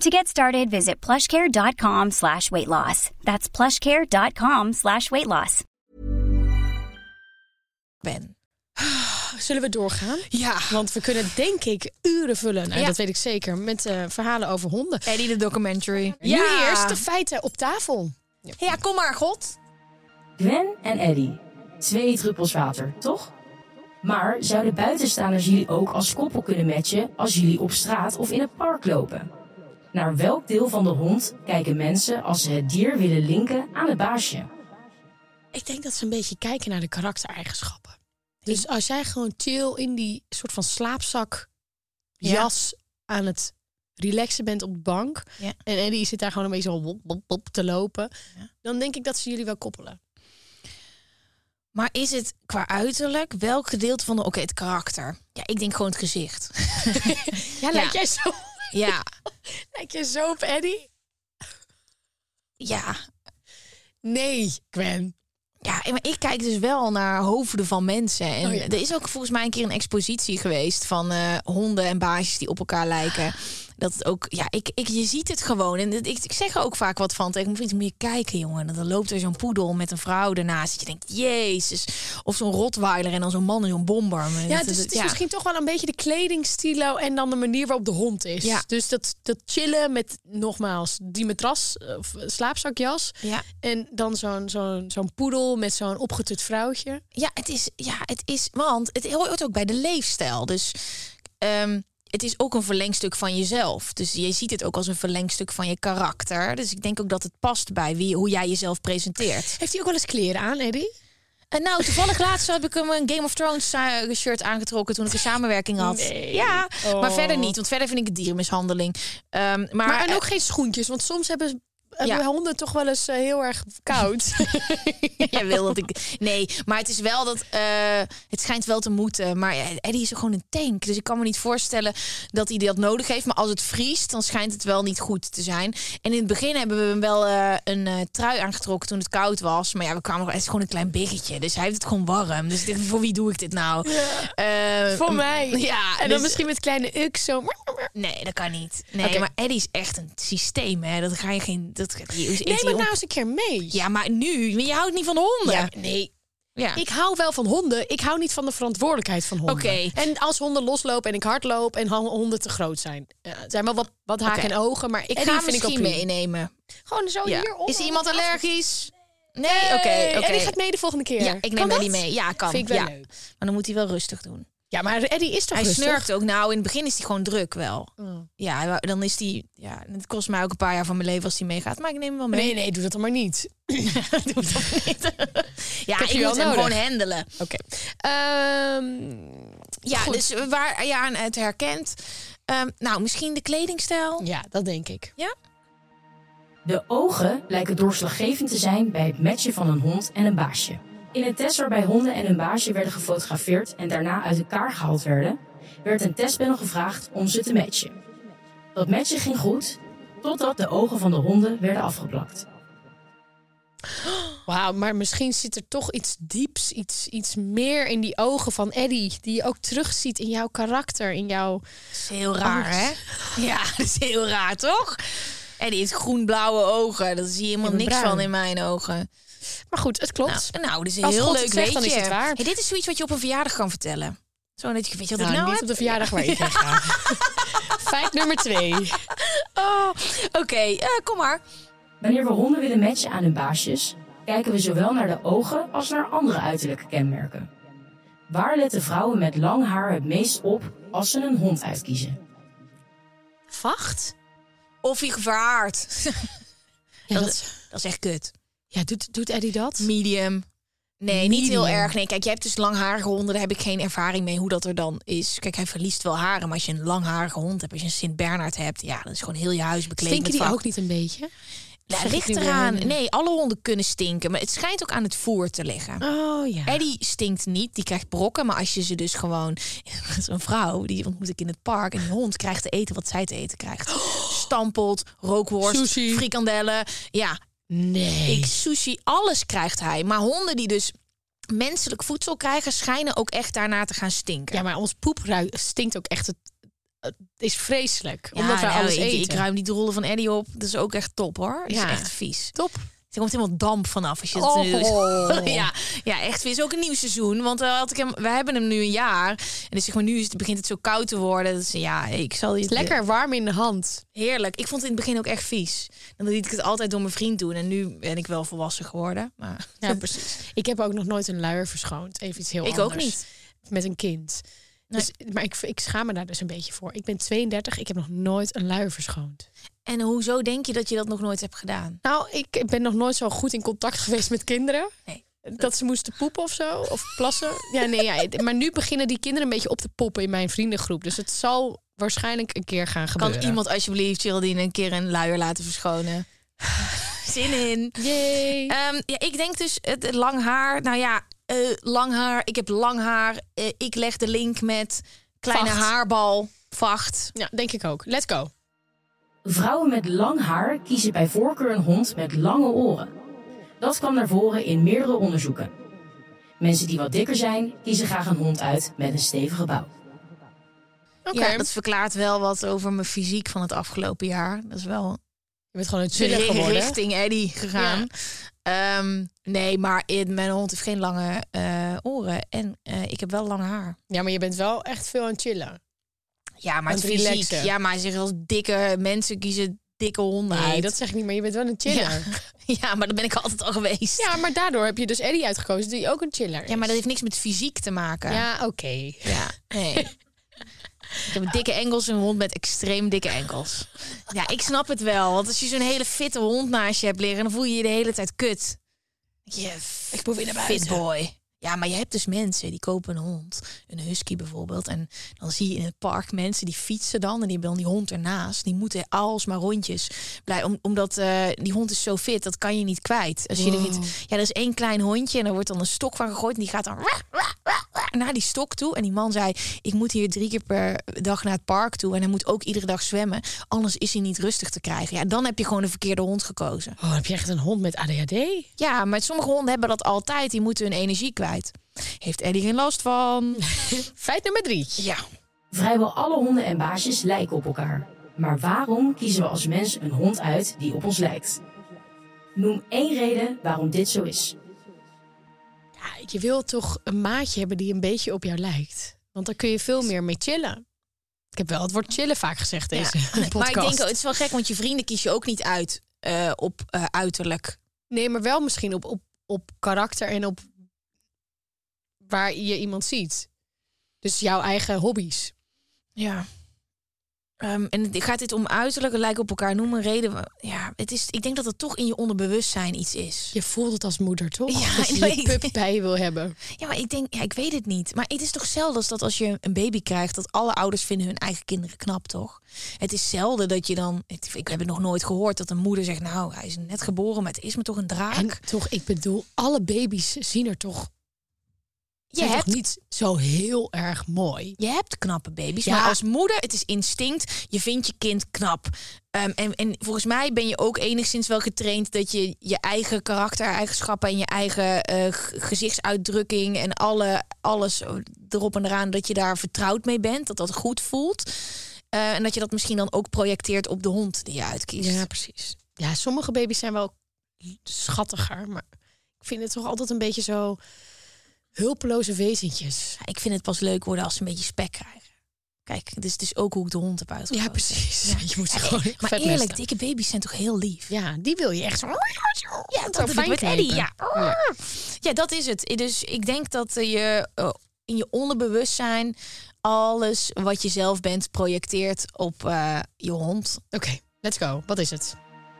To get started, visit plushcare.com slash weight loss. That's plushcare.com slash weight loss. ben. Ah, Zullen we doorgaan? Ja. Want we kunnen denk ik uren vullen. Nou, Ja. dat weet ik zeker. Met eh, verhalen over honden. Eddie de documentary. Nu eerst de feiten op tafel. Ja, kom maar, God. Gwen en Eddie. Twee druppels water, toch? Maar zouden buitenstaanders jullie ook als koppel kunnen matchen als jullie op straat of in het park lopen? Naar welk deel van de hond kijken mensen als ze het dier willen linken aan het baasje? Ik denk dat ze een beetje kijken naar de karaktereigenschappen. Dus als jij gewoon chill in die soort van slaapzak, Ja. jas aan het relaxen bent op de bank. Ja. En Eddie zit daar gewoon een beetje zo wop, wop, wop te lopen. Dan denk ik dat ze jullie wel koppelen. Maar is het qua uiterlijk welk gedeelte van de... Oké, het karakter. Ja, ik denk gewoon het gezicht. Ja, lijkt jij zo, ja, lijk jij zo op Eddie? ja. Nee, Gwen. Ja, maar ik kijk dus wel naar hoofden van mensen. En Oh ja. er is ook volgens mij een keer een expositie geweest van eh, honden en baasjes die op elkaar lijken. Dat het ook, ja, ik, ik, je ziet het gewoon. En het- ik, ik zeg er ook vaak wat van tegen mijn vriend. Moet je kijken, jongen. En dan loopt er zo'n poedel met een vrouw ernaast. Dat je denkt, jezus. Of zo'n rotweiler en dan zo'n man in zo'n bomber. Maar Ja, dat- dus dat- het is ja. misschien toch wel een beetje de kledingstilo en dan de manier waarop de hond is. Ja. Dus dat, dat chillen met, nogmaals, die matras eh, of slaapzakjas. Ja. En dan zo'n zo'n zo'n poedel met zo'n opgetut vrouwtje. Ja, het is, ja, het is, want het hoort ook bij de leefstijl. Dus ehm, het is ook een verlengstuk van jezelf. Dus je ziet het ook als een verlengstuk van je karakter. Dus ik denk ook dat het past bij wie, hoe jij jezelf presenteert. Heeft hij ook wel eens kleren aan, Eddie? En nou, toevallig laatst heb ik hem een Game of Thrones eh, shirt aangetrokken toen ik een samenwerking had. Nee. Ja, maar Oh. verder niet, want verder vind ik het dierenmishandeling. Ehm, maar Maar, en ook geen schoentjes, want soms hebben, hebben Ja. honden toch wel eens eh, heel erg koud. Jij wil dat ik. Nee, maar het is wel dat. eh, het schijnt wel te moeten. Maar ja, Eddie is gewoon een tank. Dus ik kan me niet voorstellen dat hij dat nodig heeft. Maar als het vriest, dan schijnt het wel niet goed te zijn. En in het begin hebben we hem wel eh, een eh, trui aangetrokken toen het koud was. Maar ja, we kwamen. Het is gewoon een klein biggetje. Dus hij heeft het gewoon warm. Dus ik dacht, voor wie doe ik dit nou? Eh, Voor mij. Ja, en dan dus- misschien met kleine uk zo. Nee, dat kan niet. Nee, Oké. maar Eddie is echt een systeem. Hè? Dat ga je geen. Dat, die is- Neem die het on- nou eens een keer mee. Ja, maar nu. Je houdt niet van de honden. Ja, nee. Ja. Ik hou wel van honden. Ik hou niet van de verantwoordelijkheid van honden. Oké. En als honden loslopen en ik hardloop en hon- honden te groot zijn. Ja, het zijn wel wat, wat haken Oké. en ogen, maar ik Ik ga ga vind hem ik wel misschien prima. meenemen. Gewoon zo hier onder. Is er iemand allergisch? Nee, Hey, oké. oké. Eddie gaat mee de volgende keer. Ja, ik Kan neem dat? Eddie mee. Ja, kan. Vind ik wel ja. leuk. Maar dan moet hij wel rustig doen. Ja, maar Eddie is toch hij rustig? Oh. snurkt ook. Nou, in het begin is hij gewoon druk wel. Ja, hij wou- dan is hij... Ja, het kost mij ook een paar jaar van mijn leven als hij meegaat. Maar ik neem hem wel mee. Nee, nee, doe dat dan maar niet. doe het toch niet. ja, heb ik, je moet wel hem nodig. gewoon handelen. Oké. Ehm, Ja, Goed. dus waar je aan het herkent. Ehm, nou, misschien de kledingstijl. ja, dat denk ik. De ogen lijken doorslaggevend te zijn bij het matchen van een hond en een baasje. In een test waarbij honden en een baasje werden gefotografeerd en daarna uit elkaar gehaald werden, werd een testpanel gevraagd om ze te matchen. Dat matchen ging goed, totdat de ogen van de honden werden afgeplakt. Wauw, maar misschien zit er toch iets dieps, iets, iets meer in die ogen van Eddie. Die je ook terugziet in jouw karakter, in jouw... is heel raar, hè? Ja, dat is heel raar, toch? En die heeft groen-blauwe ogen. Daar zie je helemaal Ik ben niks bruin. van in mijn ogen. Maar goed, het Nou, klopt. nou dit is een Als heel God het leuk zegt, dan weetje. is het waar. Hey, dit is zoiets wat je op een verjaardag kan vertellen. Zo dat je weet je wat ik Nou, nou niet heb? op de verjaardag waar ik heen ga. Feit nummer twee. Oh, Oké, eh, kom maar. Wanneer we honden willen matchen aan hun baasjes, kijken we zowel naar de ogen als naar andere uiterlijke kenmerken. Waar letten vrouwen met lang haar het meest op als ze een hond uitkiezen? Vacht? Of je gevaart. Ja, dat, dat- dat is echt kut. ja doet, doet Eddie dat? Medium. Nee, niet heel Medium. erg. Nee, kijk, jij hebt dus langharige honden. Daar heb ik geen ervaring mee hoe dat er dan is. Kijk, hij verliest wel haren. Maar als je een langharige hond hebt, als je een Sint-Bernard hebt... ja, dan is gewoon heel je huis bekleed Stinken met die vacht. ook niet een beetje? Ja, Zeg ik ligt nu weer eraan. helemaal. Nee, alle honden kunnen stinken. Maar het schijnt ook aan het voer te liggen. Oh ja. Eddie stinkt niet, die krijgt brokken. Maar als je ze dus gewoon... Dat is een vrouw, die ontmoet ik in het park. En die hond krijgt te eten wat zij te eten krijgt. Stampelt, rookworst, Sushi. frikandellen. Ja, Nee. ik, sushi, alles krijgt hij. Maar honden die dus menselijk voedsel krijgen... schijnen ook echt daarna te gaan stinken. Ja, maar ons poep ruikt- stinkt ook echt. Het, het is vreselijk. Ja, omdat wij nou, alles ik, eten. Ik ruim die rollen van Eddie op. Dat is ook echt top, hoor. Dat Ja. is echt vies. Top. Er komt helemaal damp vanaf als je dat nu Oh. ja, ja, echt. Het is ook een nieuw seizoen. Want eh, had ik hem, we hebben hem nu een jaar. En dus zeg maar, nu is het, begint het zo koud te worden. Dus ja, ik zal dit... Lekker warm in de hand. Heerlijk. Ik vond het in het begin ook echt vies. Dan liet ik het altijd door mijn vriend doen. En nu ben ik wel volwassen geworden. Maar Ja, precies. Ik heb ook nog nooit een luier verschoond. Even iets heel ik anders. ook niet. Met een kind. Dus, maar ik, ik schaam me daar dus een beetje voor. Ik ben 32. Ik heb nog nooit een luier verschoond. En hoezo denk je dat je dat nog nooit hebt gedaan? Nou, ik ben nog nooit zo goed in contact geweest met kinderen. Nee. Dat ze moesten poepen of zo. Of plassen. Ja, nee, ja. Maar nu beginnen die kinderen een beetje op te poppen in mijn vriendengroep. Dus het zal waarschijnlijk een keer gaan Kan gebeuren. iemand alsjeblieft Geraldine een keer een luier laten verschonen? Zin in. Yay. Ehm, ja, ik denk dus het, het lang haar. Nou ja, eh, lang haar. Ik heb lang haar. Eh, ik leg de link met kleine Vacht. haarbal. Vacht. Ja, denk ik ook. Let's go. Vrouwen met lang haar kiezen bij voorkeur een hond met lange oren. Dat kwam naar voren in meerdere onderzoeken. Mensen die wat dikker zijn, kiezen graag een hond uit met een stevige bouw. Oké. Ja, dat verklaart wel wat over mijn fysiek van het afgelopen jaar. Dat is wel Je bent gewoon een de chiller ri- geworden. richting Eddie gegaan. Ehm, nee, maar in, mijn hond heeft geen lange eh, oren. En eh, ik heb wel lang haar. Ja, maar je bent wel echt veel aan het chillen. Ja, maar Want het fysiek. relaxen. Ja, maar zeg als dikke mensen kiezen dikke honden Nee, uit. dat zeg ik niet, maar je bent wel een chiller. ja. Ja, ja, maar dat ben ik altijd al geweest. maar daardoor heb je dus Eddie uitgekozen die ook een chiller is. Ja, maar dat heeft niks met fysiek te maken. Ja, oké. Ja, nee. ik heb dikke enkels en een hond met extreem dikke enkels. Ja, ik snap het wel. Want als je zo'n hele fitte hond naast je hebt liggen, dan voel je je de hele tijd kut. Je ik probeer naar buiten. Fit boy. Ja, maar je hebt dus mensen die kopen een hond, een husky bijvoorbeeld. En dan zie je in het park mensen die fietsen dan. En die hebben dan die hond ernaast. Die moeten alsmaar rondjes. Blij, om, omdat eh, die hond is zo fit, dat kan je niet kwijt. Als je er niet, ja, er is één klein hondje en er wordt dan een stok van gegooid. En die gaat dan naar die stok toe. En die man zei, ik moet hier drie keer per dag naar het park toe. En hij moet ook iedere dag zwemmen. Anders is hij niet rustig te krijgen. Ja, dan heb je gewoon de verkeerde hond gekozen. Oh, heb je echt een hond met ADHD? Ja, maar sommige honden hebben dat altijd. Die moeten hun energie kwijt. Heeft Eddie geen last van? Feit nummer drie. Ja. Vrijwel alle honden en baasjes lijken op elkaar. Maar waarom kiezen we als mens een hond uit die op ons lijkt? Noem één reden waarom dit zo is. Ja, je wil toch een maatje hebben die een beetje op jou lijkt. Want dan kun je veel meer mee chillen. Ik heb wel het woord chillen vaak gezegd deze podcast. Maar ik denk, oh, het is wel gek, want je vrienden kies je ook niet uit eh, op eh, uiterlijk. Nee, maar wel misschien op, op, op karakter en op waar je iemand ziet. Dus jouw eigen hobby's. Ja. Ehm, en het- gaat dit om uiterlijk, het lijken op elkaar, noem een reden. wa- Ja, het is, ik denk dat het toch in je onderbewustzijn iets is. Je voelt het als moeder, toch? Ja, dat je ik je weet- pup bij je wil hebben. Ja, maar ik denk, ja, ik weet het niet. Maar het is toch zelden als dat als je een baby krijgt, dat alle ouders vinden hun eigen kinderen knap, toch? Het is zelden dat je dan, het- ik heb het nog nooit gehoord, dat een moeder zegt, nou, hij is net geboren, maar het is me toch een draak. En toch, ik bedoel, alle baby's zien er toch Je hebt hebt- niet zo heel erg mooi. Je hebt knappe baby's, Ja. maar als moeder, het is instinct. Je vindt je kind knap. Ehm, en, en volgens mij ben je ook enigszins wel getraind dat je je eigen karaktereigenschappen en je eigen eh, g- gezichtsuitdrukking en alle, alles erop en eraan, dat je daar vertrouwd mee bent, dat dat goed voelt. Eh, en dat je dat misschien dan ook projecteert op de hond die je uitkiest. precies. Ja, sommige baby's zijn wel schattiger, maar ik vind het toch altijd een beetje zo hulpeloze wezentjes. Ik vind het pas leuk worden als ze een beetje spek krijgen. Kijk, dus het is ook hoe ik de hond heb uitgekozen. Ja, precies. Je moet ze gewoon echt Maar vet eerlijk, mesten. dikke baby's zijn toch heel lief? Ja, die wil je echt zo. Ja, dat heb ik fijn met knijpen. Eddie. Ja. Ah. ja, dat is het. Dus ik denk dat je eh, in je onderbewustzijn alles wat je zelf bent projecteert op eh, je hond. Oké, let's go. Wat is het?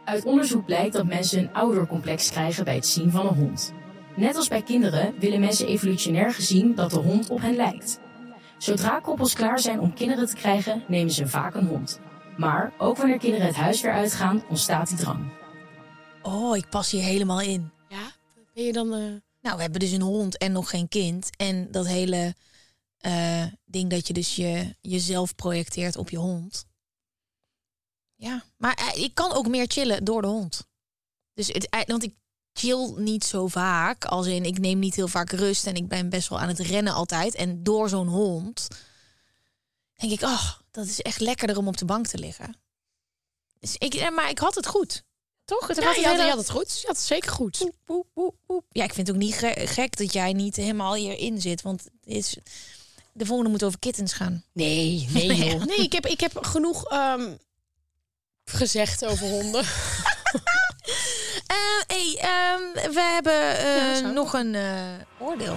Uit onderzoek blijkt dat mensen een oudercomplex krijgen bij het zien van een hond. Net als bij kinderen willen mensen evolutionair gezien dat de hond op hen lijkt. Zodra koppels klaar zijn om kinderen te krijgen, nemen ze vaak een hond. Maar ook wanneer kinderen het huis weer uitgaan, ontstaat die drang. Oh, ik pas hier helemaal in. Ja, ben je dan... eh, Nou, we hebben dus een hond en nog geen kind. En dat hele eh, ding dat je dus je, jezelf projecteert op je hond. Ja, maar eh, ik kan ook meer chillen door de hond. Dus het, eh, want ik chill niet zo vaak. Als in, ik neem niet heel vaak rust en ik ben best wel aan het rennen altijd. En door zo'n hond denk ik, oh, dat is echt lekkerder om op de bank te liggen. Dus ik, eh, maar ik had het goed. Toch? Het Ja, had je, het had, hele- je had het goed. Je had het zeker goed. Poep, poep, poep, poep. Ja, ik vind het ook niet ge- gek dat jij niet helemaal hierin zit. Want het is, de volgende moet over kittens gaan. Nee, nee Nee, ik heb, ik heb genoeg ehm, gezegd over honden. Eh, hey, ehm, we hebben eh, Ja, zo. nog een eh, oordeel.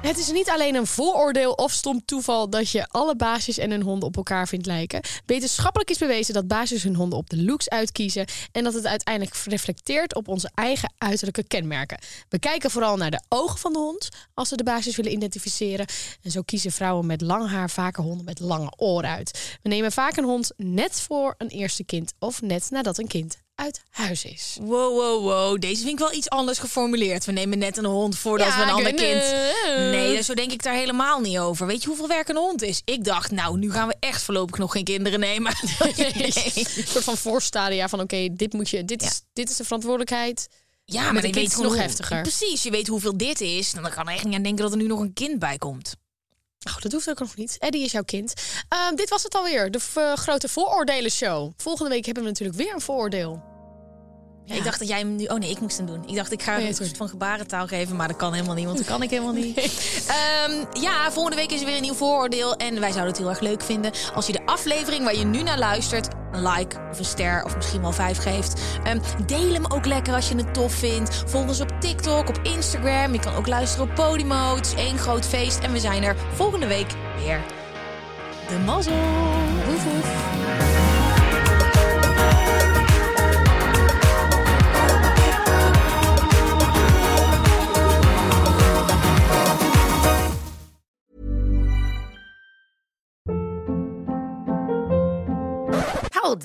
Het is niet alleen een vooroordeel of stom toeval dat je alle baasjes en hun honden op elkaar vindt lijken. Wetenschappelijk is bewezen dat baasjes hun honden op de looks uitkiezen en dat het uiteindelijk reflecteert op onze eigen uiterlijke kenmerken. We kijken vooral naar de ogen van de hond als ze de baasjes willen identificeren. En zo kiezen vrouwen met lang haar vaker honden met lange oren uit. We nemen vaak een hond net voor een eerste kind of net nadat een kind uit huis is. Wow, wow, wow. Deze vind ik wel iets anders geformuleerd. We nemen net een hond voordat Ja, we een ik ander weet- kind... eh. Nee, dus zo denk ik daar helemaal niet over. Weet je hoeveel werk een hond is? Ik dacht, nou, nu gaan we echt voorlopig nog geen kinderen nemen. Een Nee. soort van voorstadia van oké, dit moet je, dit, is, dit is de verantwoordelijkheid. Ja, Met maar een ik kind weet is het nog hoe- heftiger. Precies, je weet hoeveel dit is. Dan kan er echt niet aan denken dat er nu nog een kind bij komt. Oh, dat hoeft ook nog niet. Eddie is jouw kind. Ehm, dit was het alweer, de v- eh, grote vooroordelen show. Volgende week hebben we natuurlijk weer een vooroordeel. Ja, Ik dacht dat jij hem nu. Oh nee, ik moest hem doen. Ik dacht, ik ga Nee, een sorry. soort van gebarentaal geven, maar dat kan helemaal niet, want dat kan ik helemaal niet. Ehm, ja, volgende week is er weer een nieuw vooroordeel. En wij zouden het heel erg leuk vinden als je de aflevering waar je nu naar luistert. Een like of een ster of misschien wel vijf geeft. Ehm, deel hem ook lekker als je het tof vindt. Volg ons op TikTok, op Instagram. Je kan ook luisteren op Podimo. Het is één groot feest. En we zijn er volgende week weer. De mazzel. Woef, woef. Hold